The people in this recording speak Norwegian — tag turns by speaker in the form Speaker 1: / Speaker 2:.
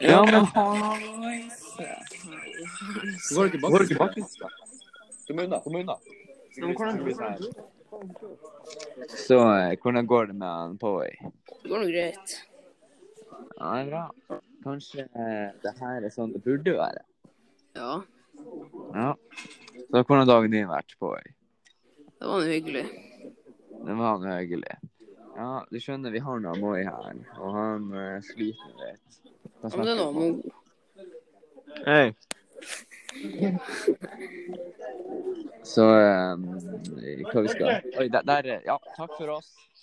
Speaker 1: Ja, men
Speaker 2: Oi,
Speaker 3: går
Speaker 2: søren.
Speaker 3: det
Speaker 1: går
Speaker 3: tilbake
Speaker 1: det
Speaker 3: til
Speaker 1: ikke bak?
Speaker 3: Kom unna. Kom unna.
Speaker 1: Men hvordan-
Speaker 4: Så eh, hvordan går det med han Poey?
Speaker 2: Det går nå greit.
Speaker 4: Ja, det er bra. Kanskje eh, det her er sånn det burde være.
Speaker 2: Ja,
Speaker 4: Ja. Så hvordan har dagen din vært, Poey?
Speaker 2: det var nå hyggelig.
Speaker 4: Det var noe hyggelig. Ja, du skjønner, vi har noe Moi her, og han eh, sliter litt. Hva
Speaker 2: Ja, Men det
Speaker 4: snakker
Speaker 2: var
Speaker 4: vi om?
Speaker 2: noe.
Speaker 1: Hei.
Speaker 4: Så eh, hva vi skal Oi, der, der eh, Ja, takk for oss.